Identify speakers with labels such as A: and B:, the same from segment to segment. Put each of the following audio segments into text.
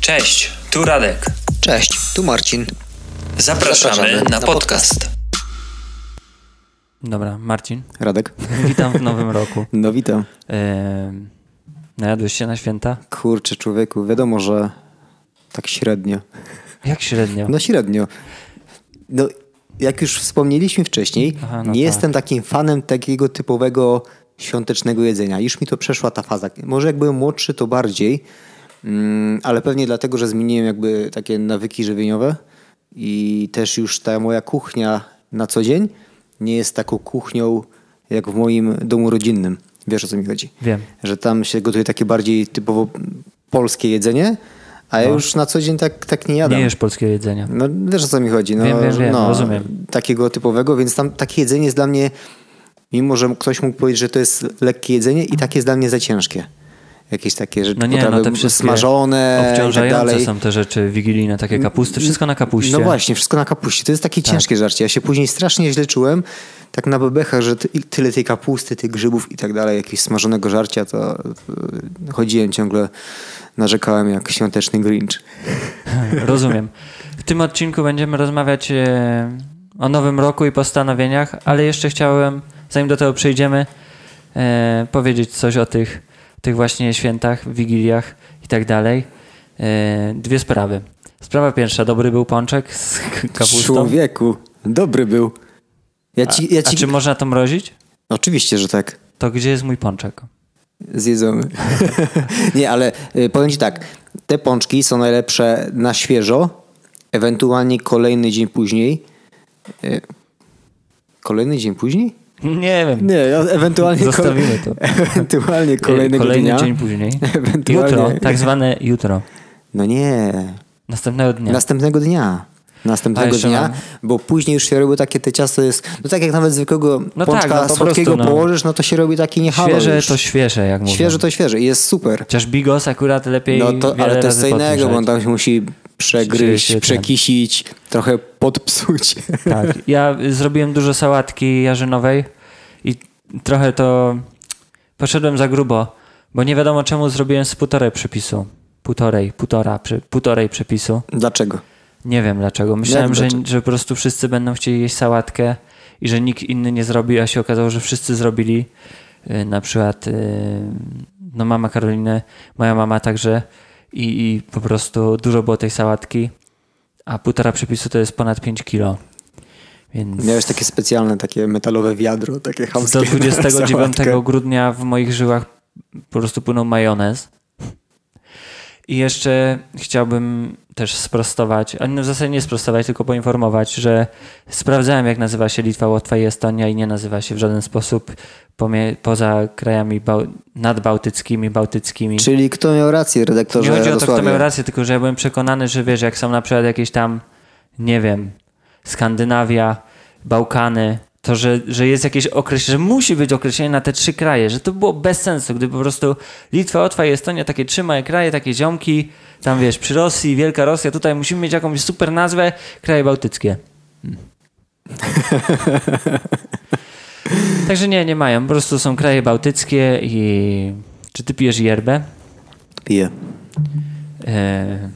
A: Cześć, tu Radek.
B: Cześć, tu Marcin.
A: Zapraszamy,
B: Zapraszamy
A: na,
B: na
A: podcast.
C: Dobra, Marcin,
D: Radek?
C: witam w nowym roku.
D: No witam.
C: Ym, najadłeś się na święta?
D: Kurczę człowieku, wiadomo, że tak średnio.
C: Jak średnio?
D: No średnio. No, jak już wspomnieliśmy wcześniej,
C: Aha, no
D: nie
C: tak.
D: jestem takim fanem takiego typowego świątecznego jedzenia. Już mi to przeszła ta faza. Może jak byłem młodszy, to bardziej, mm, ale pewnie dlatego, że zmieniłem jakby takie nawyki żywieniowe i też już ta moja kuchnia na co dzień nie jest taką kuchnią jak w moim domu rodzinnym. Wiesz o co mi chodzi?
C: Wiem.
D: Że tam się gotuje takie bardziej typowo polskie jedzenie, a ja już na co dzień tak, tak nie jadam.
C: No. Nie jesz polskiego jedzenia.
D: No wiesz o co mi chodzi. No,
C: Wiem, wiem, wiem,
D: no,
C: rozumiem.
D: Takiego typowego, więc tam takie jedzenie jest dla mnie, mimo że ktoś mógł powiedzieć, że to jest lekkie jedzenie i takie jest dla mnie za ciężkie. Jakieś takie rzeczy
C: No nie, no
D: potrawy
C: te wszystkie
D: smażone i tak
C: obciążające
D: dalej. Mm,
C: są te rzeczy wigilijne, takie kapusty, wszystko na kapuście.
D: No właśnie, wszystko na kapuście. To jest takie
C: Tak.
D: ciężkie żarcie. Ja się później strasznie źle czułem, tak na bebechach, że ty, tyle tej kapusty, tych grzybów i tak dalej, jakiegoś smażonego żarcia, to y, chodziłem ciągle, narzekałem jak świąteczny Grinch.
C: Rozumiem. W tym odcinku będziemy rozmawiać e, o nowym roku i postanowieniach, ale jeszcze chciałem, zanim do tego przejdziemy, e, powiedzieć coś o tych, tych właśnie świętach, wigiliach i tak dalej. E, dwie sprawy. Sprawa pierwsza, dobry był pączek z k- kapustą.
D: Człowieku, dobry był. Ja ci, ja
C: A
D: ci...
C: czy można to mrozić?
D: Oczywiście, że tak.
C: To gdzie jest mój pączek?
D: Zjedzony. nie, ale y, powiem ci tak. Te pączki są najlepsze na świeżo, ewentualnie kolejny dzień później. Y, Kolejny dzień później?
C: Nie wiem.
D: Nie, e- ewentualnie,
C: Zostawimy to. Y,
D: ewentualnie kolejnego
C: Kolejny
D: dnia.
C: dzień później.
D: Ewentualnie.
C: Jutro, tak zwane jutro.
D: No nie.
C: Następnego dnia.
D: Następnego dnia.
C: A,
D: Następnego
C: jeszcze
D: dnia,
C: mam-
D: bo później już się robi takie te ciasto jest, no tak jak nawet zwykłego
C: No tak,
D: pączka
C: no po
D: słodkiego
C: prostu, no.
D: położysz, no to się robi taki niehalo
C: Świeże
D: już.
C: to świeże, jak mówię.
D: Świeże to świeże i jest super.
C: Chociaż Bigos akurat lepiej.
D: No to,
C: wiele
D: ale to jest
C: razy
D: co innego, bo on
C: podgrzać.
D: tam się musi przegryźć,
C: Się- się ten-
D: przekisić, trochę podpsuć.
C: Tak. Ja y, zrobiłem dużo sałatki jarzynowej i trochę to poszedłem za grubo, bo nie wiadomo czemu zrobiłem z półtorej przepisu. Półtorej, półtora, przy, półtorej przepisu.
D: Dlaczego?
C: Nie wiem dlaczego. Myślałem,
D: Jak
C: że,
D: dlaczego?
C: że po prostu wszyscy będą chcieli jeść sałatkę i że nikt inny nie zrobi, a się okazało, że wszyscy zrobili. Y, Na przykład y, no mama Karoliny, moja mama także i, i po prostu dużo było tej sałatki, a półtora przepisu to jest ponad 5 kilo. Więc
D: Miałeś takie specjalne, takie metalowe wiadro, takie
C: do
D: chamskie. na
C: 29
D: sałatkę.
C: grudnia w moich żyłach po prostu płynął majonez. I jeszcze chciałbym też sprostować, a no w zasadzie nie sprostować, tylko poinformować, że sprawdzałem jak nazywa się Litwa, Łotwa i Estonia i nie nazywa się w żaden sposób pomie- poza krajami bał- nadbałtyckimi, bałtyckimi.
D: Czyli kto miał rację, redaktorze
C: nie chodzi o to, kto
D: Jarosławie?
C: miał rację, tylko że ja byłem przekonany, że wiesz, jak są na przykład jakieś tam, nie wiem, Skandynawia, Bałkany, to że, że jest jakieś określenie, że musi być określenie na te trzy kraje, że to było bez sensu, gdyby po prostu Litwa, Łotwa i Estonia, takie trzy małe kraje, takie ziomki, tam wiesz, przy Rosji, Wielka Rosja, tutaj musimy mieć jakąś super nazwę, kraje bałtyckie. Także nie, nie mają, po prostu są kraje bałtyckie i czy ty pijesz yerbę?
D: Piję.
C: E,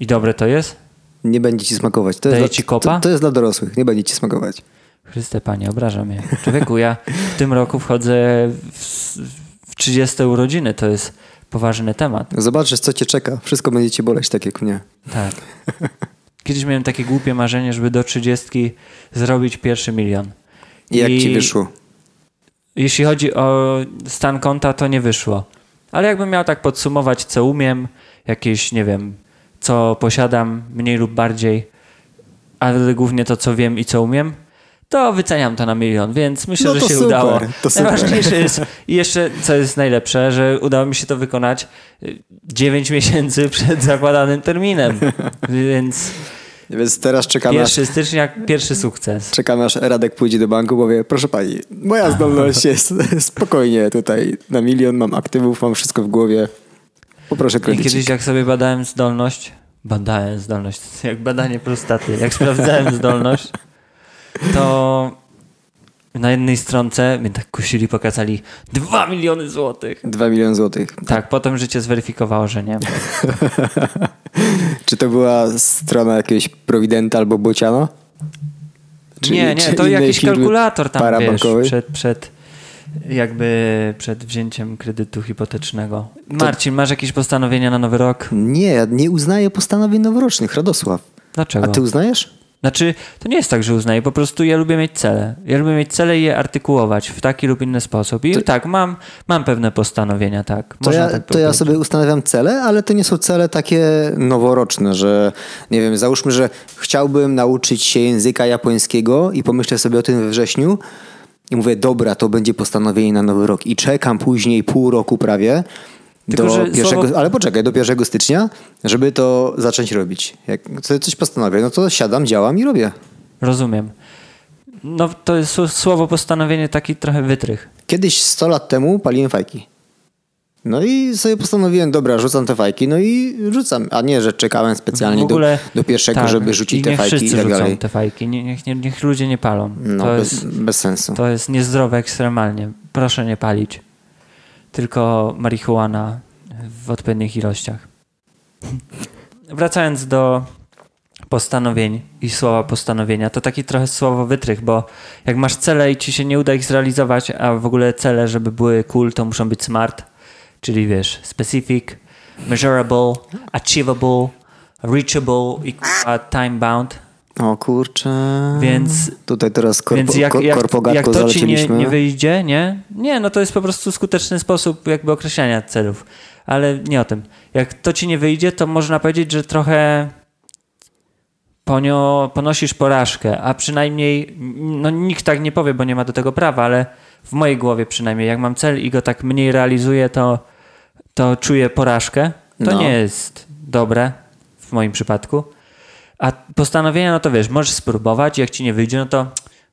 C: I dobre to jest?
D: Nie będzie ci smakować. To
C: Daję
D: jest
C: ci
D: dla,
C: kopa?
D: To, to jest dla dorosłych, nie będzie ci smakować.
C: Chryste Panie, obraża mnie. Człowieku, ja w tym roku wchodzę w, w 30 urodziny, to jest poważny temat.
D: Zobaczysz, co cię czeka. Wszystko będzie ci boleć, tak jak mnie.
C: Tak. Kiedyś miałem takie głupie marzenie, żeby do 30 zrobić pierwszy milion.
D: I jak
C: I-
D: ci wyszło?
C: Jeśli chodzi o stan konta, to nie wyszło. Ale jakbym miał tak podsumować, co umiem, jakieś, nie wiem, co posiadam mniej lub bardziej, ale głównie to, co wiem i co umiem, to wyceniam to na milion, więc myślę,
D: No
C: że
D: to
C: się
D: super,
C: udało.
D: to super.
C: Najważniejsze jest, i jeszcze co jest najlepsze, że udało mi się to wykonać 9 miesięcy przed zakładanym terminem. Więc
D: Więc teraz czekamy, aż,
C: 1 stycznia, pierwszy sukces.
D: czekamy, aż Radek pójdzie do banku, powie, proszę pani, moja zdolność jest spokojnie tutaj na milion, mam aktywów, mam wszystko w głowie. Poproszę
C: I
D: kredycik.
C: kiedyś jak sobie badałem zdolność, badałem zdolność, to jest jak badanie prostaty, jak sprawdzałem zdolność, to na jednej stronce mnie tak kusili, pokazali 2 miliony złotych.
D: 2 miliony złotych.
C: Tak, potem życie zweryfikowało, że nie.
D: Czy to była strona jakiegoś Providenta albo Bociana? Czy-
C: nie,
D: czy
C: nie, to
D: innej
C: jakiś
D: firmy
C: kalkulator tam, wiesz,
D: parabankowej?
C: przed, przed jakby przed wzięciem kredytu hipotecznego. Marcin, masz jakieś postanowienia na nowy rok?
D: Nie, ja nie uznaję postanowień noworocznych, Radosław.
C: Dlaczego?
D: A ty uznajesz?
C: Znaczy, to nie jest tak, że uznaję, po prostu ja lubię mieć cele. Ja lubię mieć cele i je artykułować w taki lub inny sposób. I tak, mam, mam pewne postanowienia, tak.
D: To
C: Można
D: No ja,
C: tak
D: to ja
C: powiedzieć.
D: sobie ustanawiam cele, ale to nie są cele takie noworoczne, że nie wiem, załóżmy, że chciałbym nauczyć się języka japońskiego i pomyślę sobie o tym we wrześniu i mówię, dobra, to będzie postanowienie na nowy rok i czekam później pół roku prawie
C: Tylko,
D: do
C: że
D: pierwszego,
C: słowo-
D: ale poczekaj, do 1 stycznia, żeby to zacząć robić. Jak sobie coś postanowię, no to siadam, działam i robię.
C: Rozumiem. No, to jest su- słowo postanowienie taki trochę wytrych.
D: Kiedyś 100 lat temu paliłem fajki. No i sobie postanowiłem, dobra, rzucam te fajki, no i rzucam. A nie, że czekałem specjalnie
C: w ogóle,
D: do, do pierwszego,
C: tak,
D: żeby
C: i
D: rzucić te
C: niech
D: fajki i
C: wszyscy
D: tak
C: rzucą
D: dalej.
C: te fajki, nie, niech, nie, niech ludzie nie palą.
D: No,
C: to,
D: bez,
C: jest,
D: bez sensu.
C: to jest niezdrowe ekstremalnie. Proszę nie palić. Tylko marihuana w odpowiednich ilościach. Wracając do postanowień i słowa postanowienia, to taki trochę słowo wytrych, bo jak masz cele i ci się nie uda ich zrealizować, a w ogóle cele, żeby były cool, to muszą być smart, czyli wiesz, specific, measurable, achievable, reachable i kurwa, time bound.
D: O kurczę.
C: Więc-
D: Tutaj teraz korpo,
C: Więc jak,
D: ko-
C: jak, jak
D: korpogatko
C: to ci nie,
D: zaleciliśmy.
C: nie wyjdzie, nie? Nie, no to jest po prostu skuteczny sposób jakby określania celów. Ale nie o tym. Jak to ci nie wyjdzie, to można powiedzieć, że trochę ponio, ponosisz porażkę, a przynajmniej, no nikt tak nie powie, bo nie ma do tego prawa, ale w mojej głowie przynajmniej, jak mam cel i go tak mniej realizuję, to, to czuję porażkę. To
D: No.
C: nie jest dobre w moim przypadku. A postanowienia, no to wiesz, możesz spróbować, jak ci nie wyjdzie, no to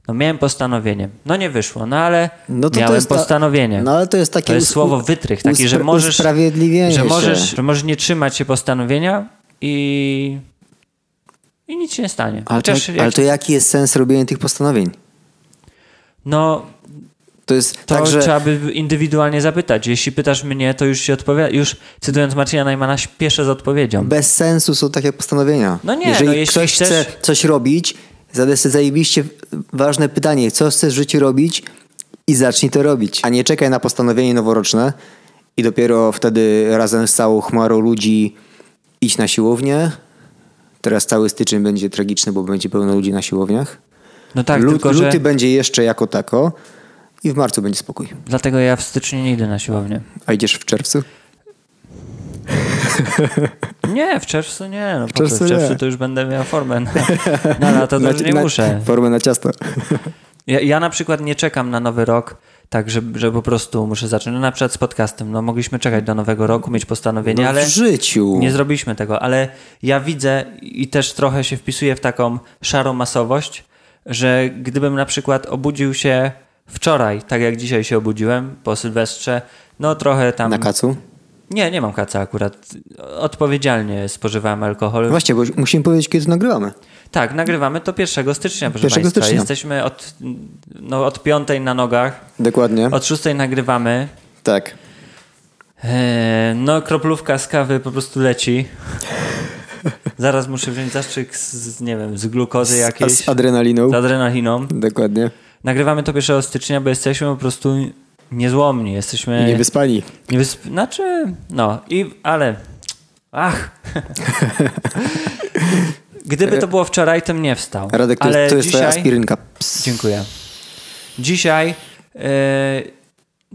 C: no miałem postanowienie. No nie wyszło, no ale miałem
D: ta-
C: postanowienie.
D: No ale to jest takie
C: To jest
D: us-
C: słowo wytrych, taki, że
D: uspra-
C: możesz,
D: usprawiedliwienie
C: że
D: się.
C: możesz, że możesz nie trzymać się postanowienia i, i nic się nie stanie.
D: Ale,
C: Chociaż
D: to,
C: jak-
D: ale to jaki jest sens robienia tych postanowień?
C: No,
D: To jest
C: to
D: tak, że...
C: trzeba by indywidualnie zapytać. Jeśli pytasz mnie, to już się odpowiada. Już cytując Marcina Najmana, śpieszę z odpowiedzią.
D: bez sensu są takie postanowienia.
C: No nie,
D: Jeżeli
C: no jeśli
D: ktoś
C: chcesz-
D: chce coś robić, zadaj sobie zajebiście ważne pytanie, co chcesz w życiu robić i zacznij to robić. A nie czekaj na postanowienie noworoczne i dopiero wtedy razem z całą chmarą ludzi idź na siłownię. Teraz cały styczeń będzie tragiczny, bo będzie pełno ludzi na siłowniach.
C: No tak,
D: Lu-
C: tylko
D: luty
C: że
D: będzie jeszcze jako tako i w marcu będzie spokój.
C: dlatego ja w styczniu nie idę na siłownię.
D: A idziesz w czerwcu?
C: Nie, w czerwcu nie. No, w,
D: czerwcu
C: czerwcu, w czerwcu
D: nie.
C: to już będę miał formę na, na lato, to
D: Na-
C: już nie
D: na-
C: muszę.
D: Formę na ciasto.
C: Ja, ja na przykład nie czekam na nowy rok, tak, że, że po prostu muszę zacząć. No na przykład z podcastem, no mogliśmy czekać do nowego roku, mieć postanowienie,
D: No,
C: ale
D: w życiu.
C: nie zrobiliśmy tego. Ale ja widzę i też trochę się wpisuję w taką szarą masowość, że gdybym na przykład obudził się wczoraj, tak jak dzisiaj się obudziłem, po Sylwestrze, no trochę tam...
D: Na kacu?
C: nie, nie mam kaca akurat. Odpowiedzialnie spożywałem alkohol.
D: Właśnie, bo musimy powiedzieć, kiedy to nagrywamy.
C: Tak, nagrywamy to 1 stycznia, proszę
D: 1
C: Państwa.
D: stycznia.
C: Jesteśmy od, no, od piątej na nogach.
D: Dokładnie.
C: Od szóstej nagrywamy.
D: Tak.
C: Eee, No, kroplówka z kawy po prostu leci. Zaraz muszę wziąć zastrzyk z- z, nie wiem, z glukozy
D: A
C: jakiejś,
D: z adrenaliną.
C: z adrenaliną.
D: Dokładnie.
C: Nagrywamy to 1 stycznia, bo jesteśmy po prostu niezłomni. Jesteśmy...
D: I niewyspani.
C: Nie wysp... Znaczy, no, i, ale. Ach! Gdyby to było wczoraj, to bym nie wstał.
D: Radek, to
C: ale
D: jest, to jest twoja
C: dzisiaj...
D: aspirynka. Ps.
C: Dziękuję. Dzisiaj e,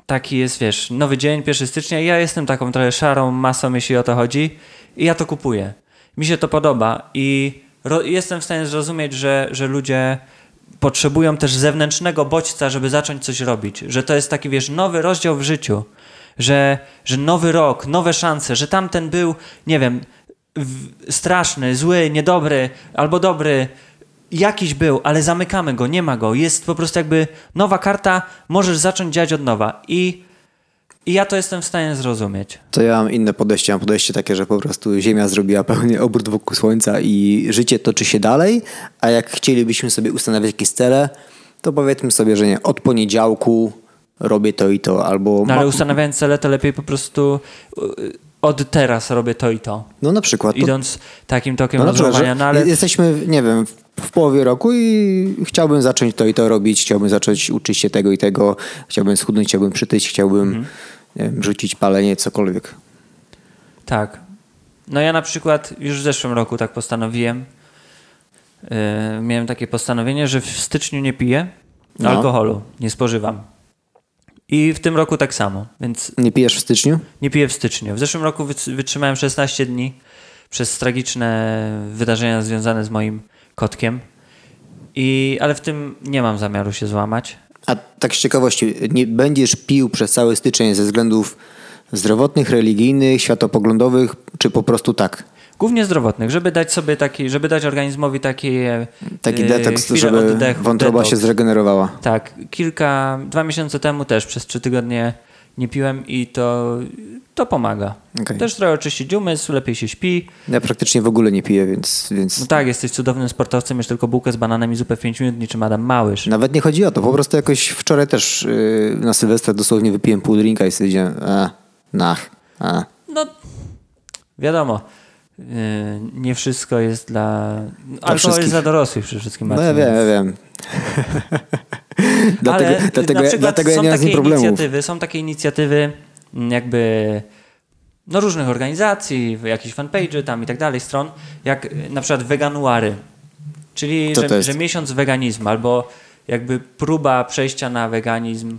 C: taki jest, wiesz, nowy dzień, 1 stycznia. Ja jestem taką trochę szarą masą, jeśli o to chodzi, i ja to kupuję. Mi się to podoba i ro, jestem w stanie zrozumieć, że, że ludzie potrzebują też zewnętrznego bodźca, żeby zacząć coś robić. Że to jest taki, wiesz, nowy rozdział w życiu, że, że nowy rok, nowe szanse, że tamten był, nie wiem, w, straszny, zły, niedobry albo dobry jakiś był, ale zamykamy go, nie ma go. Jest po prostu jakby nowa karta, możesz zacząć działać od nowa. I, i ja to jestem w stanie zrozumieć.
D: To ja mam inne podejście. Mam podejście takie, że po prostu Ziemia zrobiła pełny obrót wokół Słońca i życie toczy się dalej, a jak chcielibyśmy sobie ustanawiać jakieś cele, to powiedzmy sobie, że nie, od poniedziałku robię to i to, albo...
C: No ale
D: ma-
C: ustanawiając cele, to lepiej po prostu y, od teraz robię to i to.
D: no na przykład. to-
C: Idąc takim tokiem
D: No na przykład,
C: rozumowania,
D: że
C: no ale
D: jesteśmy, nie wiem, w- w połowie roku i chciałbym zacząć to i to robić, chciałbym zacząć uczyć się tego i tego, chciałbym schudnąć, chciałbym przytyć, chciałbym
C: Mhm.
D: nie wiem, rzucić palenie, cokolwiek.
C: tak. No ja na przykład już w zeszłym roku tak postanowiłem. Y, miałem takie postanowienie, że w styczniu nie piję
D: No.
C: alkoholu, nie spożywam. I w tym roku tak samo, więc
D: Nie pijesz w styczniu?
C: Nie piję w styczniu. W zeszłym roku wyc- wytrzymałem 16 dni przez tragiczne wydarzenia związane z moim kotkiem. I, ale w tym nie mam zamiaru się złamać.
D: A tak z ciekawości, nie będziesz pił przez cały styczeń ze względów zdrowotnych, religijnych, światopoglądowych, czy po prostu tak?
C: Głównie zdrowotnych, żeby dać sobie taki, żeby dać organizmowi takie
D: Taki
C: e,
D: detoks,
C: chwile
D: żeby
C: oddechu,
D: wątroba
C: detoks.
D: się zregenerowała.
C: Tak, kilka, dwa miesiące temu też przez trzy tygodnie nie piłem i to, to pomaga.
D: Okej.
C: Też trochę oczyścić umysł, lepiej się śpi.
D: Ja praktycznie w ogóle nie piję, więc, więc
C: No tak, jesteś cudownym sportowcem, jesz tylko bułkę z bananem i zupę w 5 minut, niczym Adam Małysz.
D: Nawet nie chodzi o to. Po prostu jakoś wczoraj też yy, na Sylwestra dosłownie wypiłem pół drinka i stwierdziłem, a, nach, a.
C: No, wiadomo. yy, Nie wszystko jest dla. Alkohol
D: wszystkich.
C: jest dla dorosłych przede wszystkim.
D: No
C: Marcin,
D: ja wiem,
C: więc-
D: ja wiem. dlatego
C: Ale
D: dlatego,
C: na
D: ja,
C: przykład
D: dlatego ja
C: są
D: nie mam z
C: takie
D: nim problemów.
C: inicjatywy, są takie inicjatywy mm, jakby no różnych organizacji, jakieś fanpage'y tam i tak dalej, stron, jak y, na przykład weganuary, czyli
D: Co to
C: że,
D: jest?
C: że miesiąc weganizmu albo jakby próba przejścia na weganizm y,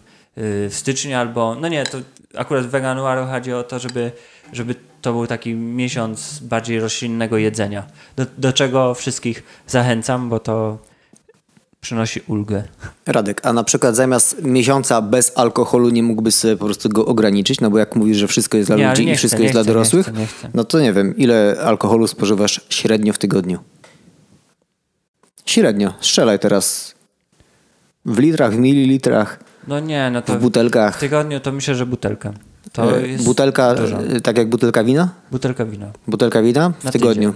C: w styczniu albo, no nie, to akurat w weganuaru chodzi o to, żeby, żeby to był taki miesiąc bardziej roślinnego jedzenia, No, do, do czego wszystkich zachęcam, bo to przynosi ulgę.
D: Radek, a na przykład zamiast miesiąca bez alkoholu nie mógłbyś sobie po prostu go ograniczyć? No bo jak mówisz, że wszystko jest dla
C: Nie, ale
D: ludzi
C: nie
D: i
C: chcę,
D: wszystko
C: nie
D: jest dla
C: chcę, nie
D: dorosłych,
C: chcę, nie chcę.
D: no to nie wiem, ile alkoholu spożywasz średnio w tygodniu? Średnio. Strzelaj teraz. W litrach, w mililitrach.
C: No nie, no to
D: W butelkach.
C: W tygodniu to myślę, że butelkę. To
D: E,
C: jest
D: butelka,
C: dużo.
D: e, tak jak butelka wina?
C: butelka wina.
D: Butelka wina w
C: Na
D: tygodniu.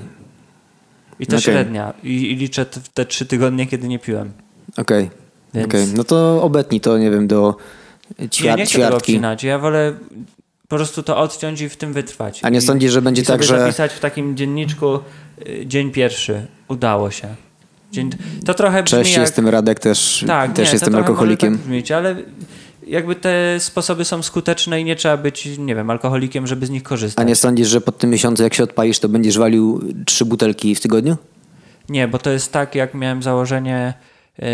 C: I to
D: Okej.
C: średnia. I, I liczę t- te trzy tygodnie, kiedy nie piłem.
D: Okej.
C: Więc-
D: Okej. No to obetnij to, nie wiem, do ćwiart,
C: ja nie chcę tego
D: ćwiartki.
C: obcinać. Ja wolę po prostu to odciąć i w tym wytrwać.
D: A nie
C: I-
D: sądzisz, że będzie
C: i
D: tak,
C: sobie
D: że-
C: zapisać w takim dzienniczku y, dzień pierwszy. Udało się. Dzień... To trochę brzmi
D: Cześć,
C: jak...
D: jestem Radek, też,
C: Tak,
D: też
C: nie,
D: jestem
C: to trochę
D: alkoholikiem.
C: może Tak brzmieć, ale jakby te sposoby są skuteczne i nie trzeba być, nie wiem, alkoholikiem, żeby z nich
D: A
C: korzystać.
D: nie sądzisz, że po tym miesiącu, jak się odpalisz, to będziesz walił trzy butelki w tygodniu?
C: Nie, bo to jest tak, jak miałem założenie yy,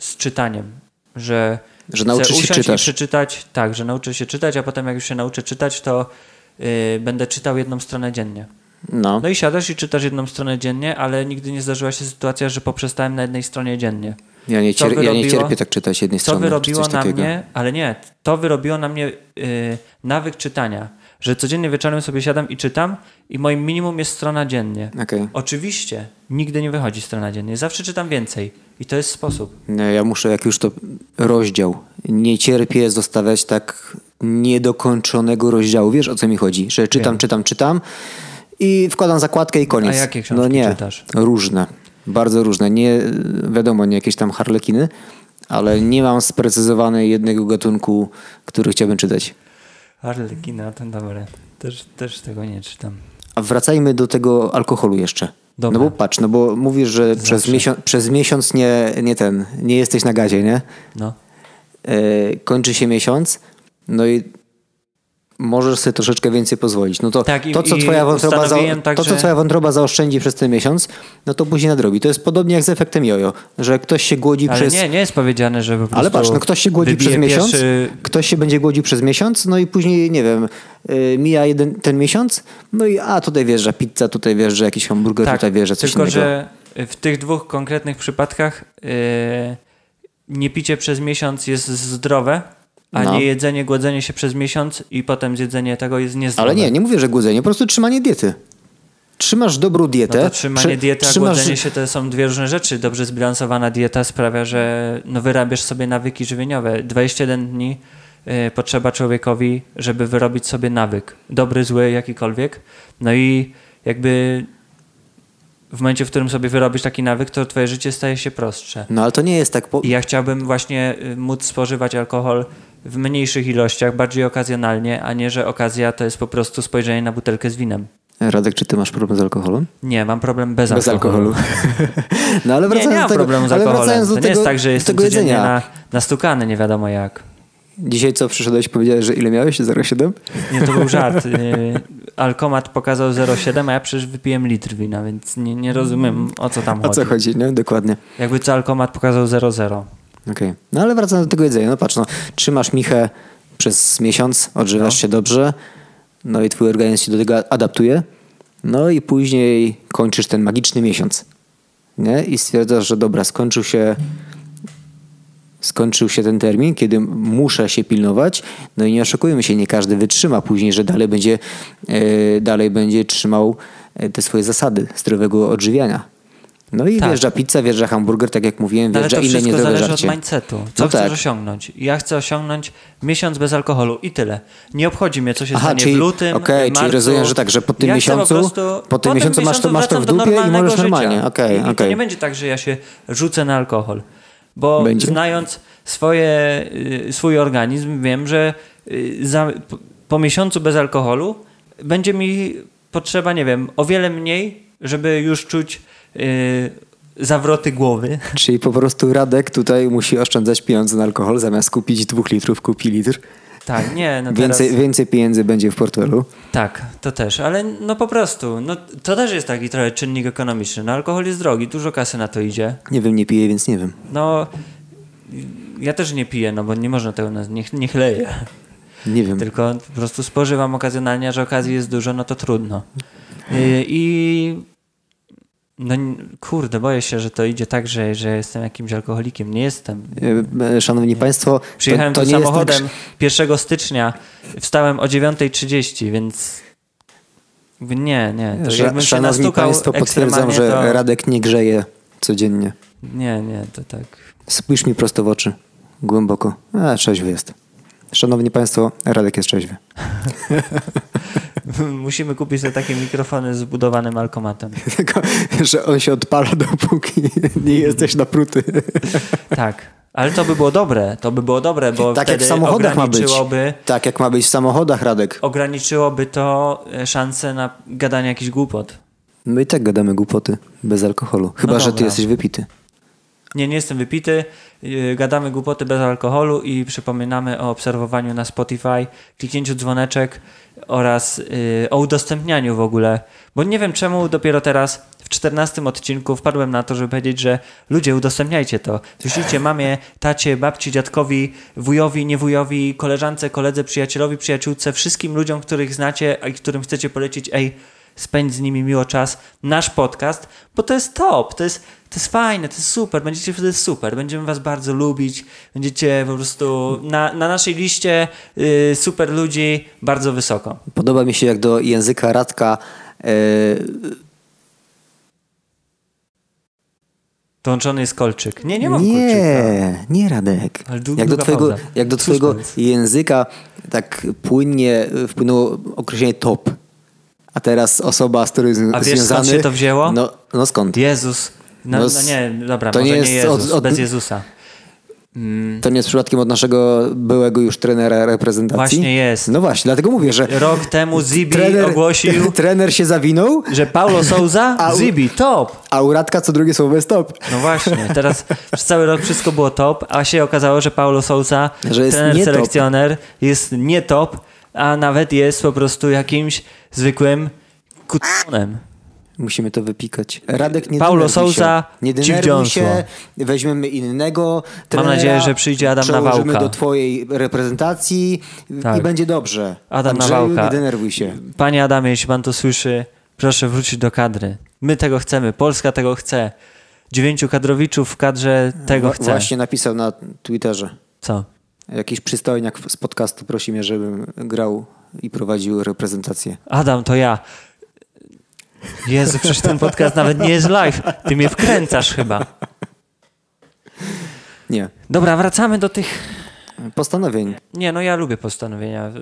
C: z czytaniem, że,
D: Że nauczysz
C: chcę
D: się
C: usiąść
D: czytać.
C: I przeczytać. Tak, że nauczę się czytać, a potem jak już się nauczę czytać, to yy, będę czytał jedną stronę dziennie.
D: No.
C: No i siadasz i czytasz jedną stronę dziennie, ale nigdy nie zdarzyła się sytuacja, że poprzestałem na jednej stronie dziennie.
D: Ja nie,
C: co
D: cier- ja nie
C: wyrobiło-
D: cierpię tak czytać jednej
C: Co
D: strony. czy
C: wyrobiło
D: coś
C: na
D: takiego.
C: mnie, ale nie, to wyrobiło na mnie yy, nawyk czytania, że codziennie wieczorem sobie siadam i czytam i moim minimum jest strona dziennie.
D: Okej.
C: Oczywiście, nigdy nie wychodzi strona dziennie. Zawsze czytam więcej i to jest sposób.
D: Nie, E, ja muszę, jak już to rozdział, nie cierpię zostawiać tak niedokończonego rozdziału. Wiesz, o co mi chodzi? Że czytam, czytam, czytam i wkładam zakładkę i koniec.
C: jakie książki
D: no nie,
C: czytasz?
D: Różne, bardzo różne. Nie, wiadomo, nie jakieś tam harlekiny, ale nie mam sprecyzowanej jednego gatunku, który chciałbym czytać.
C: Arlekina, ten dobry. Też, też tego nie czytam.
D: A wracajmy do tego alkoholu jeszcze.
C: Dobra.
D: No bo patrz, no bo mówisz, że przez miesiąc, przez miesiąc nie, nie ten, nie jesteś na gazie, nie?
C: No.
D: e, kończy się miesiąc, no i możesz sobie troszeczkę więcej pozwolić. No to,
C: Tak, i-
D: to, co
C: i
D: twoja wątroba za,
C: ustanowiłem tak,
D: to, co
C: że-
D: twoja wątroba zaoszczędzi przez ten miesiąc, no to później nadrobi. To jest podobnie jak z efektem jojo, że ktoś się głodzi
C: Ale
D: przez...
C: nie, nie jest powiedziane, że po prostu
D: Ale patrz, no ktoś się głodzi
C: wybije
D: przez miesiąc,
C: Pierwszy...
D: ktoś się będzie głodził przez miesiąc, no i później, nie wiem, y, mija jeden, ten miesiąc, no i a tutaj wjeżdża pizza, tutaj wjeżdża jakiś hamburger, tutaj wjeżdża coś
C: Tak, tylko,
D: innego.
C: że w tych dwóch konkretnych przypadkach yy, nie picie przez miesiąc jest zdrowe, a
D: No.
C: nie jedzenie, głodzenie się przez miesiąc i potem zjedzenie tego jest niezdrowe.
D: Ale nie, nie mówię, że głodzenie, po prostu trzymanie diety. Trzymasz dobrą dietę.
C: No to trzymanie
D: przy-
C: diety, a
D: trzymasz-
C: głodzenie się to są dwie różne rzeczy. Dobrze zbilansowana dieta sprawia, że no wyrabiasz sobie nawyki żywieniowe. 21 dni y, potrzeba człowiekowi, żeby wyrobić sobie nawyk. Dobry, zły, jakikolwiek. No i jakby w momencie, w którym sobie wyrobisz taki nawyk, to twoje życie staje się prostsze.
D: No ale to nie jest tak. Po...
C: I ja chciałbym właśnie y, móc spożywać alkohol w mniejszych ilościach, bardziej okazjonalnie, a nie, że okazja to jest po prostu spojrzenie na butelkę z winem.
D: Radek, czy ty masz problem z alkoholem?
C: Nie, mam problem bez,
D: Bez alkoholu. no
C: Nie,
D: ale wracając
C: nie mam
D: do tego,
C: problemu z
D: ale
C: alkoholem.
D: wracając
C: To
D: do
C: nie
D: tego,
C: jest tak, że
D: do
C: jestem
D: tego
C: codziennie
D: jedzenia.
C: na, nastukany, nie wiadomo jak.
D: Dzisiaj co przyszedłeś i powiedziałeś, że ile miałeś? 0,7?
C: Nie, to był żart. Y, Alkomat pokazał 0,7, a ja przecież wypiłem litr wina, więc nie, nie rozumiem o co tam
D: O co chodzi, nie? Dokładnie.
C: Jakby co alkomat pokazał 0,0.
D: Okej. No ale wracając do tego jedzenia. No patrz, no, trzymasz michę przez miesiąc, odżywasz się dobrze, no i twój organizm się do tego adaptuje, no i później kończysz ten magiczny miesiąc. Nie? I stwierdzasz, że dobra, skończył się skończył się ten termin, kiedy muszę się pilnować. No i nie oszukujmy się, nie każdy wytrzyma później, że dalej będzie, e, dalej będzie trzymał e, te swoje zasady zdrowego odżywiania. No i
C: Tak. No
D: wjeżdża pizza, wjeżdża hamburger, tak jak mówiłem,
C: Ale
D: wjeżdża
C: to
D: inne
C: wszystko
D: niezdrowe
C: zależy od
D: żarcie.
C: mindsetu. Co
D: No
C: chcesz
D: tak.
C: osiągnąć? Ja chcę osiągnąć miesiąc bez alkoholu i tyle. Nie obchodzi mnie, co się
D: Aha,
C: stanie
D: czyli-
C: w lutym,
D: okej, czyli
C: marcu.
D: rozumiem, że tak, że po tym
C: ja chcę
D: miesiącu-
C: po, prostu,
D: po tym miesiącu masz to- masz to w
C: wracam do
D: dupie i
C: normalnego
D: możesz
C: życia.
D: normalnie. Okej,
C: I- i To
D: okej.
C: nie będzie tak, że ja się rzucę na alkohol. Bo
D: Będzie?
C: znając swoje, y, swój organizm wiem, że y, za, po, po miesiącu bez alkoholu będzie mi potrzeba, nie wiem, o wiele mniej, żeby już czuć y, zawroty głowy.
D: Czyli po prostu Radek tutaj musi oszczędzać pieniądze na alkohol, zamiast kupić dwóch litrów, kupi litr.
C: Tak, nie, no teraz...
D: Więcej, więcej pieniędzy będzie w portfelu.
C: Tak, to też, ale no po prostu, no to też jest taki trochę czynnik ekonomiczny. No alkohol jest drogi, dużo kasy na to idzie.
D: Nie wiem, nie piję, więc nie wiem.
C: No ja też nie piję, no bo nie można tego, no, nie, nie chleję.
D: Nie wiem.
C: Tylko po prostu spożywam okazjonalnie, a że okazji jest dużo, no to trudno. Yy, I no n- kurde, boję się, że to idzie tak, że, że jestem jakimś alkoholikiem. Nie jestem.
D: E, e, Szanowni Państwo,
C: Przyjechałem
D: to, to
C: tu
D: nie jest tak,
C: samochodem 1 stycznia, wstałem o 9.30, więc nie, nie. To
D: że-
C: jakbym się
D: Szanowni
C: nastukał
D: Państwo, potwierdzam,
C: ekstremalnie,
D: że
C: to...
D: Radek nie grzeje codziennie.
C: Nie, nie, to tak.
D: Spójrz mi prosto w oczy. Głęboko. A, trzeźwy jest. Szanowni Państwo, Radek jest trzeźwy.
C: Musimy kupić sobie takie mikrofony z budowanym alkomatem.
D: Tylko, że on się odpala dopóki nie jesteś napruty.
C: Tak. Ale to by było dobre, to by było dobre, bo
D: tak jak
C: wtedy
D: w samochodach ma być.
C: ograniczyłoby,
D: Tak jak ma być w samochodach, Radek.
C: ograniczyłoby to e, szanse na gadanie jakichś głupot.
D: My i tak gadamy głupoty bez alkoholu. Chyba, że ty
C: No dobra.
D: jesteś wypity.
C: Nie, nie jestem wypity. Yy, Gadamy głupoty bez alkoholu i przypominamy o obserwowaniu na Spotify, kliknięciu dzwoneczek oraz yy, o udostępnianiu w ogóle. Bo nie wiem czemu dopiero teraz w 14 odcinku wpadłem na to, żeby powiedzieć, że ludzie udostępniajcie to. Wyślijcie mamie, tacie, babci, dziadkowi, wujowi, niewujowi, koleżance, koledze, przyjacielowi, przyjaciółce, wszystkim ludziom, których znacie i którym chcecie polecić, ej, spędź z nimi miło czas, nasz podcast, bo to jest top, to jest, to jest fajne, to jest super, będziecie wtedy super, będziemy was bardzo lubić, będziecie po prostu na, na naszej liście y, super ludzi bardzo wysoko.
D: Podoba mi się, jak do języka Radka e,
C: Dołączony jest kolczyk. Nie, nie mam kolczyka.
D: Nie, nie Radek.
C: Ale dłu-
D: jak, do
C: długa
D: twojego,
C: pauza.
D: jak do twojego języka tak płynnie e, wpłynęło określenie top. A teraz osoba, z którą jest
C: A wiesz, skąd
D: związany...
C: się to wzięło?
D: No, no skąd?
C: Jezus. No,
D: No
C: no,
D: s-
C: nie, dobra,
D: to
C: może
D: nie
C: nie,
D: jest od-
C: Jezus,
D: od-
C: bez Jezusa.
D: To nie jest przypadkiem od naszego byłego już trenera reprezentacji?
C: Właśnie jest.
D: No właśnie, dlatego mówię, że
C: Rok temu Zibi
D: trener,
C: ogłosił,
D: trener się zawinął,
C: że Paulo Souza,
D: Au.
C: Zibi, top.
D: a u Radka co drugie słowo jest top.
C: No właśnie, teraz przez cały rok wszystko było top, a się okazało, że Paulo Sousa,
D: Że jest
C: trener
D: nie top.
C: selekcjoner, jest nie top, a nawet jest po prostu jakimś zwykłym kutonem.
D: Musimy to wypikać. Radek nie
C: Paulo
D: denerwuj
C: Sousa,
D: się. Nie
C: ci w
D: denerwuj
C: dziąsło.
D: się, weźmiemy innego trenera.
C: nadzieję, że przyjdzie Adam
D: przełożymy
C: Nawałka.
D: do twojej reprezentacji
C: Tak.
D: i będzie dobrze.
C: Adam
D: Andrzeju,
C: Nawałka.
D: nie denerwuj się.
C: Panie Adamie, jeśli pan to słyszy, proszę wrócić do kadry. My tego chcemy, Polska tego chce. Dziewięciu kadrowiczów w kadrze tego
D: Wa-
C: chce.
D: Właśnie napisał na Twitterze.
C: Co?
D: Jakiś przystojniak z podcastu prosi mnie, żebym grał i prowadził reprezentację.
C: Adam, to ja. Jezu, przecież ten podcast nawet nie jest live. Ty mnie wkręcasz chyba.
D: Nie.
C: Dobra, wracamy do tych
D: Postanowień.
C: Nie, no ja lubię postanowienia,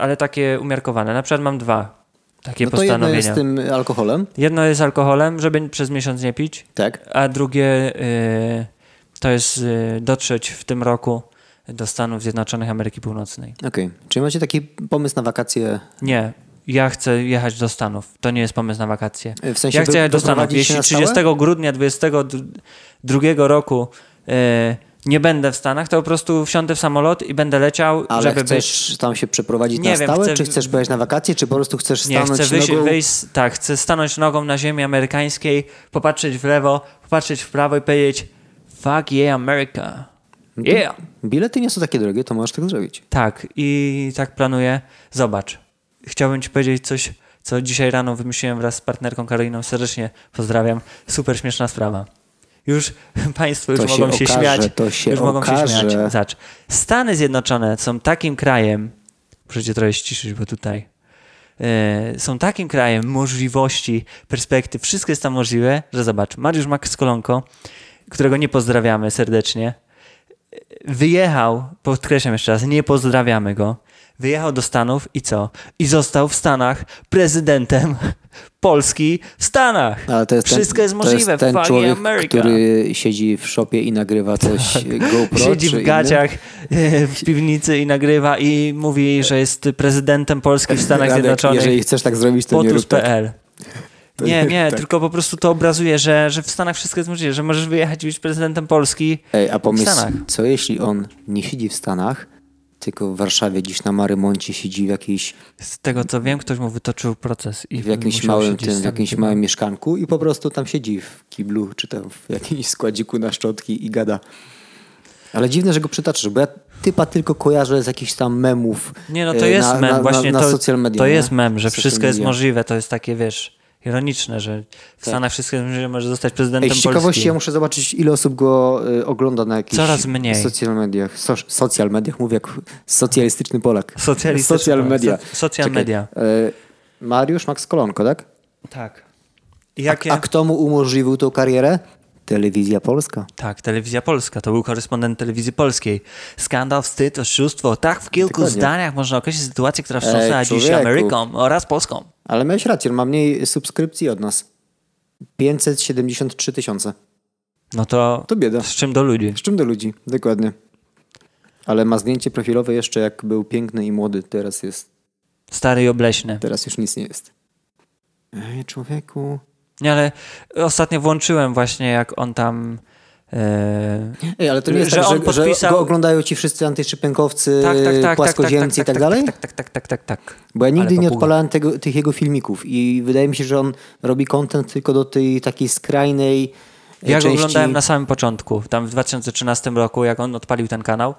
C: ale takie umiarkowane. Na przykład mam dwa. Takie
D: no to jedno
C: postanowienia.
D: jest z tym alkoholem,
C: Jedno jest alkoholem, żeby przez miesiąc nie pić,
D: tak?
C: a drugie y, to jest y, dotrzeć w tym roku do Stanów Zjednoczonych Ameryki Północnej.
D: Okej. Czy macie taki pomysł na wakacje?
C: Nie, ja chcę jechać do Stanów. To nie jest pomysł na wakacje.
D: E, W sensie
C: ja chcę
D: wy-
C: jechać do Stanów.
D: wyprowadzić się
C: Jeśli
D: na stałe?
C: 30 grudnia 2022 roku y, nie będę w Stanach, to po prostu wsiądę w samolot i będę leciał,
D: Ale
C: żeby być...
D: chcesz tam się przeprowadzić
C: Nie
D: na
C: wiem,
D: stałe,
C: chcę-
D: czy chcesz pojechać na wakacje, czy po prostu chcesz
C: Nie,
D: stanąć
C: chcę wyjść,
D: nogą...
C: wyjść, tak, chcę stanąć nogą na ziemi amerykańskiej, popatrzeć w lewo, popatrzeć w prawo i powiedzieć fuck yeah America. Yeah!
D: Bilety nie są takie drogie, to możesz tak zrobić.
C: Tak, i tak planuję. Zobacz, chciałbym ci powiedzieć coś, co dzisiaj rano wymyśliłem wraz z partnerką Karoliną. Serdecznie pozdrawiam. Super śmieszna sprawa. Już państwo już
D: To się
C: mogą się
D: okaże,
C: śmiać.
D: to się
C: już mogą
D: okaże.
C: się śmiać. Zacz. Stany Zjednoczone są takim krajem. Muszę cię trochę ściszyć, bo tutaj. e, Są takim krajem możliwości, perspektyw, wszystko jest tam możliwe, że zobacz, Mariusz Max Kolonko, którego nie pozdrawiamy serdecznie, wyjechał, podkreślam jeszcze raz, nie pozdrawiamy go, wyjechał do Stanów i co? I został w Stanach prezydentem Polski w Stanach.
D: Ale to jest
C: Wszystko
D: ten,
C: jest możliwe.
D: To jest ten
C: Fuck
D: człowiek,
C: America.
D: który siedzi w szopie i nagrywa coś GoPro
C: Tak. Siedzi
D: czy
C: w
D: innym.
C: gaciach e, w piwnicy i nagrywa i mówi, że jest prezydentem Polski w Stanach
D: Radek,
C: Zjednoczonych. E.
D: Jeżeli chcesz tak zrobić, to nie rób tak.
C: Potus.pl. Nie, nie, tylko po prostu to obrazuje, że, że w Stanach wszystko jest możliwe, że możesz wyjechać i być prezydentem Polski.
D: Ej, a pomysł,
C: W Stanach.
D: co jeśli on nie siedzi w Stanach, tylko w Warszawie gdzieś na Marymoncie siedzi w, jakiejś,
C: Z tego co wiem, ktoś mu wytoczył proces i
D: w jakimś
C: musiał
D: małym
C: siedzieć
D: tym,
C: z
D: w jakimś małym mieszkanku i po prostu tam siedzi w kiblu czy tam w jakimś składziku na szczotki i gada. Ale dziwne, że go przytaczasz, bo ja typa tylko kojarzę z jakichś tam memów
C: Nie, no to
D: e,
C: jest
D: na,
C: mem,
D: na,
C: właśnie
D: na, na
C: to,
D: social media.
C: to
D: nie?
C: jest mem, że
D: Social
C: wszystko jest
D: media. Tak.
C: możliwe, to jest takie, wiesz, ironiczne, że w Stanach wszystko jest możliwe, może zostać prezydentem
D: Ej, z ciekawości
C: Polski.
D: ja muszę zobaczyć, ile osób go y, ogląda na jakichś
C: Coraz mniej.
D: social mediach. So, social mediach mówię jak socjalistyczny Polak.
C: Socjalistyczny
D: social
C: Polak.
D: media.
C: So- social
D: Czekaj,
C: media.
D: y, Mariusz Max Kolonko, tak?
C: Tak. Jakie?
D: A kto mu umożliwił tą karierę? Telewizja Polska.
C: Tak, Telewizja Polska, to był korespondent Telewizji Polskiej. Skandal, wstyd, oszustwo, tak w kilku
D: Dokładnie.
C: zdaniach można określić sytuację, która
D: Ej,
C: wstrząsnęła dziś
D: człowieku.
C: Ameryką oraz Polską.
D: Ale miałeś rację, ma mniej subskrypcji od nas. 573 tysiące.
C: No to,
D: To bieda.
C: z czym do ludzi?
D: Z czym do ludzi, dokładnie. Ale ma zdjęcie profilowe jeszcze jak był piękny i młody, teraz jest,
C: Stary i obleśny.
D: teraz już nic nie jest. Ej, człowieku...
C: Nie, ale ostatnio włączyłem właśnie, jak on tam... e,
D: Ej, ale to nie jest
C: Że
D: tak,
C: on
D: że, że
C: podpisał-
D: go oglądają ci wszyscy antyszczypienkowcy, płaskoziemcy i tak dalej?
C: Tak, tak, tak, tak, tak, tak.
D: Bo ja nigdy
C: Ale
D: nie
C: papuga.
D: odpalałem tego, tych jego filmików i wydaje mi się, że on robi content tylko do tej takiej skrajnej e,
C: Ja go
D: części.
C: oglądałem na samym początku, tam w 2013 roku, jak on odpalił ten kanał.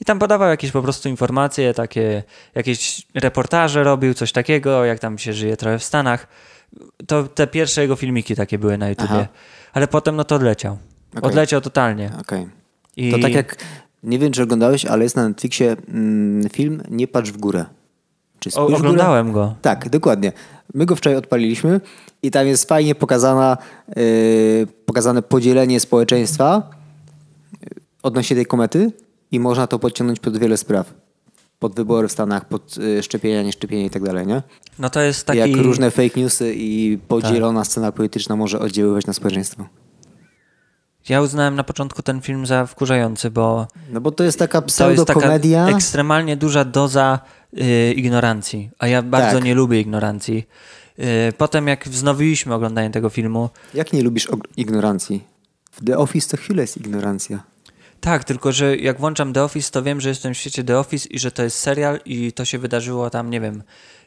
C: I tam podawał jakieś po prostu informacje, takie, jakieś reportaże robił, coś takiego, jak tam się żyje trochę w Stanach. To te pierwsze jego filmiki takie były na YouTubie.
D: Aha.
C: Ale potem no to odleciał.
D: Okej.
C: Odleciał totalnie.
D: Okej.
C: I
D: To tak jak, nie wiem czy oglądałeś, ale jest na Netflixie mm, film Nie patrz w górę. Czy
C: o,
D: spójrz w górę?
C: oglądałem go.
D: Tak, dokładnie. My go wczoraj odpaliliśmy i tam jest fajnie pokazana, yy, pokazane podzielenie społeczeństwa yy, odnośnie tej komety i można to podciągnąć pod wiele spraw. Pod wybory w Stanach, pod yy, szczepienia, nieszczepienia i tak dalej, nie?
C: No to jest taki... Tak.
D: Jak różne fake newsy i podzielona scena polityczna może oddziaływać na społeczeństwo.
C: Ja uznałem na początku ten film za wkurzający, bo
D: No bo to jest taka
C: To jest taka
D: pseudokomedia.
C: ekstremalnie duża doza y, ignorancji, a ja bardzo
D: Tak.
C: nie lubię ignorancji. Y, potem jak wznowiliśmy oglądanie tego filmu,
D: Jak nie lubisz og- ignorancji? W The Office to chwilę jest ignorancja.
C: tak, tylko że jak włączam The Office, to wiem, że jestem w świecie The Office i że to jest serial i to się wydarzyło tam, nie wiem,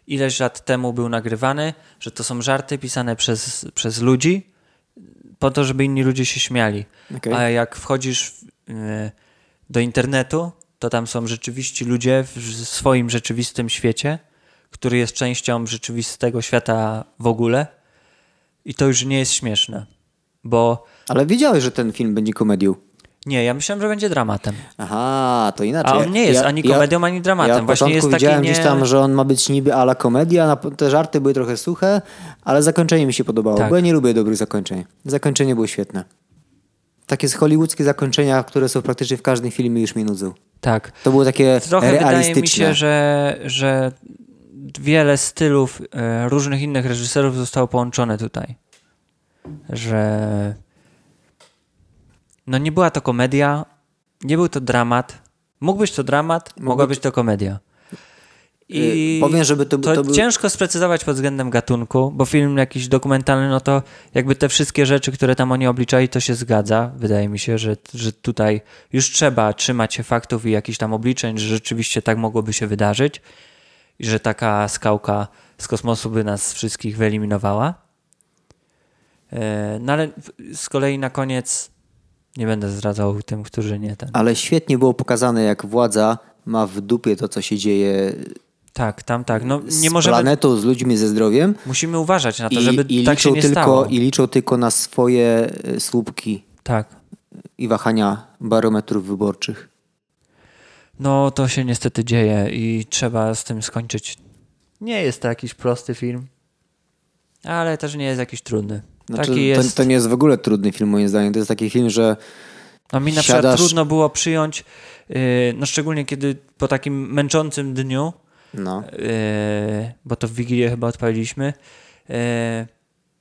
C: ileś lat temu był nagrywany, że to są żarty pisane przez, przez ludzi po to, żeby inni ludzie się śmiali.
D: Okej.
C: A jak wchodzisz w, y, do internetu, to tam są rzeczywiście ludzie w w swoim rzeczywistym świecie, który jest częścią rzeczywistego świata w ogóle i to już nie jest śmieszne, bo
D: Ale wiedziałeś, że ten film będzie komedią.
C: nie, ja myślałem, że będzie dramatem.
D: Aha, to inaczej.
C: A on nie jest ani komedią, ani dramatem.
D: Ja od
C: Właśnie
D: początku
C: jest taki
D: widziałem
C: nie-
D: gdzieś tam, że on ma być niby ala komedia, na- te żarty były trochę suche, ale zakończenie mi się podobało,
C: Tak.
D: bo ja nie lubię dobrych zakończeń. Zakończenie było świetne. Takie z hollywoodzkie zakończenia, które są praktycznie w każdym filmie już mi nudzą.
C: Tak.
D: To było takie
C: Trochę
D: realistyczne.
C: wydaje mi się, że, że
E: wiele stylów e, różnych innych reżyserów zostało połączone tutaj. Że no nie była to komedia, nie był to dramat. Mógł być to dramat, mogła być to komedia. I
D: Y, powiem, żeby to-
E: to,
D: to był-
E: ciężko sprecyzować pod względem gatunku, bo film jakiś dokumentalny, no to jakby te wszystkie rzeczy, które tam oni obliczali, to się zgadza. Wydaje mi się, że, że tutaj już trzeba trzymać się faktów i jakichś tam obliczeń, że rzeczywiście tak mogłoby się wydarzyć i że taka skałka z kosmosu by nas wszystkich wyeliminowała. E, No ale w- z kolei na koniec nie będę zdradzał tym, którzy nie ten.
D: Ale świetnie było pokazane, jak władza ma w dupie to, co się dzieje
E: Tak, tam tak. No
D: z
E: nie możemy.
D: planetą, z ludźmi, ze zdrowiem.
E: Musimy uważać na to, żeby
D: i, i
E: tak się
D: liczą
E: nie
D: tylko,
E: stało.
D: I liczą tylko na swoje y, słupki
E: Tak.
D: i wahania barometrów wyborczych.
E: No to się niestety dzieje i trzeba z tym skończyć. Nie jest to jakiś prosty film, ale też nie jest jakiś trudny.
D: Znaczy,
E: Taki jest.
D: to, to nie jest w ogóle trudny film, moim zdaniem. To jest taki film, że
E: No mi na przykład
D: Siadasz-
E: trudno było przyjąć, yy, no szczególnie kiedy po takim męczącym dniu,
D: no,
E: E, yy, bo to w Wigilię chyba odpaliliśmy, yy,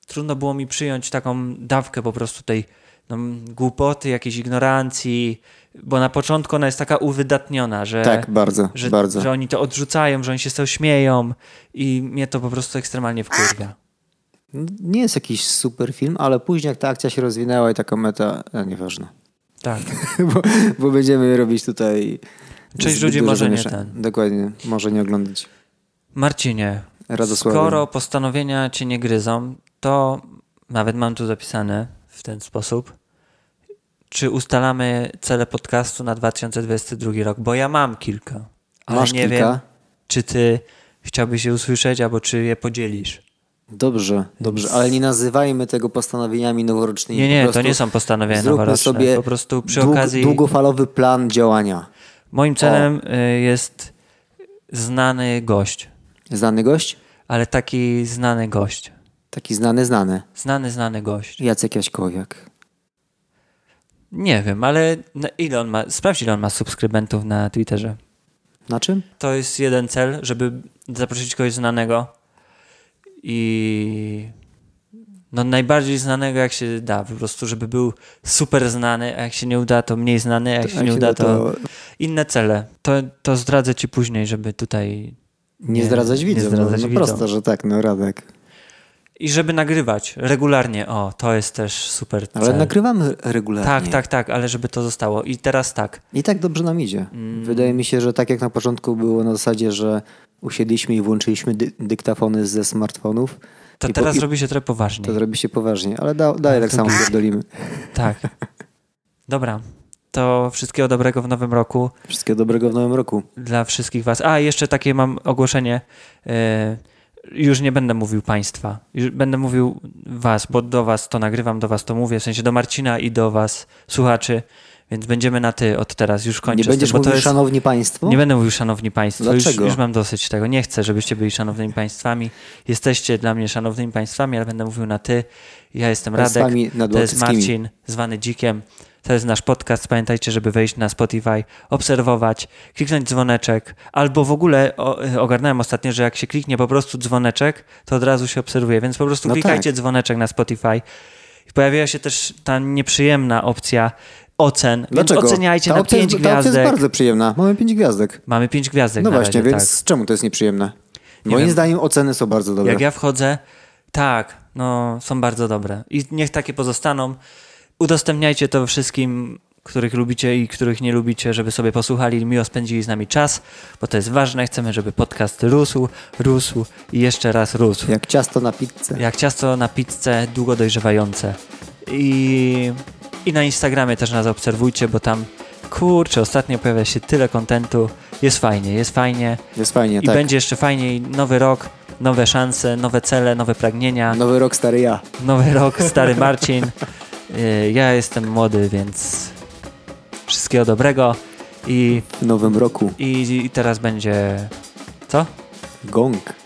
E: trudno było mi przyjąć taką dawkę po prostu tej no, m, głupoty, jakiejś ignorancji, bo na początku ona jest taka uwydatniona, że...
D: tak, bardzo,
E: że,
D: bardzo.
E: że oni to odrzucają, że oni się z tego śmieją i mnie to po prostu ekstremalnie wkurwia.
D: Nie jest jakiś super film, ale później jak ta akcja się rozwinęła i taka meta, a nieważne.
E: Tak.
D: bo, bo będziemy robić tutaj...
E: Część
D: zbyt
E: ludzi
D: dużo
E: może nie
D: zamiesza-
E: ten.
D: Dokładnie, może nie oglądać.
E: Marcinie,
D: Radosławie.
E: skoro postanowienia cię nie gryzą, to nawet mam tu zapisane w ten sposób, czy ustalamy cele podcastu na 2022 rok, bo ja mam kilka, ale
D: Masz
E: nie
D: kilka?
E: wiem, czy ty chciałbyś je usłyszeć, albo czy je podzielisz.
D: Dobrze, dobrze, ale nie nazywajmy tego postanowieniami noworocznymi.
E: Nie,
D: Po
E: nie, to
D: prostu
E: nie są postanowienia
D: zróbmy
E: noworoczne.
D: sobie
E: po prostu przy
D: dług-
E: okazji...
D: długofalowy plan działania.
E: Moim celem y, jest znany gość,
D: Znany gość?
E: ale taki znany gość.
D: Taki znany, znany.
E: Znany, znany gość.
D: Jacek Jaśkowiak.
E: Nie wiem, ale na- ile on ma, sprawdź ile on ma subskrybentów na Twitterze.
D: Na czym?
E: To jest jeden cel, żeby zaprosić kogoś znanego i no najbardziej znanego jak się da, po prostu żeby był super znany, a jak się nie uda to mniej znany, a Tak, jak się nie uda to inne cele. To, to zdradzę ci później, żeby tutaj
D: Nie, zdradzać widzom.
E: nie zdradzać
D: no, no
E: widzom.
D: prosto, że tak, no Radek.
E: I żeby nagrywać regularnie, o, to jest też super cel.
D: Ale nagrywamy regularnie.
E: tak, tak, tak, ale żeby to zostało. I teraz tak,
D: I tak dobrze nam idzie.
E: Mm.
D: Wydaje mi się, że tak jak na początku było na zasadzie, że usiedliśmy i włączyliśmy dy dyktafony ze smartfonów,
E: to
D: I po-
E: teraz
D: i-
E: robi się trochę
D: to
E: poważniej.
D: zrobi się poważnie. Ale da, dalej tak
E: to
D: samo pierdolimy.
E: Tak. Dobra, to wszystkiego dobrego w nowym roku
D: Wszystkiego dobrego w nowym roku.
E: dla wszystkich was. A, jeszcze takie mam ogłoszenie. E, już nie będę mówił państwa, już będę mówił was, bo do was to nagrywam, do was to mówię, w sensie do Marcina i do was, słuchaczy, więc będziemy na ty od teraz, już kończę
D: Nie
E: z
D: będziesz
E: tym, bo
D: mówił,
E: to jest...
D: szanowni państwo?
E: Nie będę mówił szanowni państwo, już,
D: Dlaczego?
E: już mam dosyć tego. Nie chcę, żebyście byli szanownymi państwami. Jesteście dla mnie szanownymi państwami, ale będę mówił na ty. Ja jestem Radek,
D: Państwami
E: to jest
D: nadbałtyckimi.
E: Marcin, zwany Dzikiem. To jest nasz podcast. Pamiętajcie, żeby wejść na Spotify, obserwować, kliknąć dzwoneczek, albo w ogóle o, ogarnąłem ostatnio, że jak się kliknie po prostu dzwoneczek, to od razu się obserwuje, więc po prostu
D: No
E: klikajcie
D: tak.
E: dzwoneczek na Spotify. Pojawiła się też ta nieprzyjemna opcja ocen,
D: Dlaczego?
E: więc oceniajcie
D: ta
E: na
D: opcja,
E: pięć
D: jest, ta opcja
E: gwiazdek.
D: jest bardzo przyjemna. Mamy pięć gwiazdek.
E: Mamy pięć gwiazdek
D: No
E: na
D: właśnie,
E: razie, tak.
D: więc czemu to jest nieprzyjemne?
E: Nie
D: Moim
E: wiem.
D: zdaniem oceny są bardzo
E: tak.
D: dobre.
E: Jak ja wchodzę, tak, no są bardzo dobre. I niech takie pozostaną. Udostępniajcie to wszystkim, których lubicie i których nie lubicie, żeby sobie posłuchali i miło spędzili z nami czas, bo to jest ważne. Chcemy, żeby podcast rósł, rósł i jeszcze raz rósł.
D: Jak ciasto na pizzę.
E: Jak ciasto na pizzę długo dojrzewające. I, I na Instagramie też nas obserwujcie, bo tam kurczę, ostatnio pojawia się tyle kontentu. Jest fajnie, jest fajnie.
D: Jest fajnie,
E: I
D: tak.
E: będzie jeszcze fajniej. Nowy rok, nowe szanse, nowe cele, nowe pragnienia.
D: Nowy rok, stary ja.
E: Nowy rok, stary Marcin. Y, Ja jestem młody, więc wszystkiego dobrego. I,
D: W nowym roku.
E: i, i teraz będzie. Co?
D: Gong.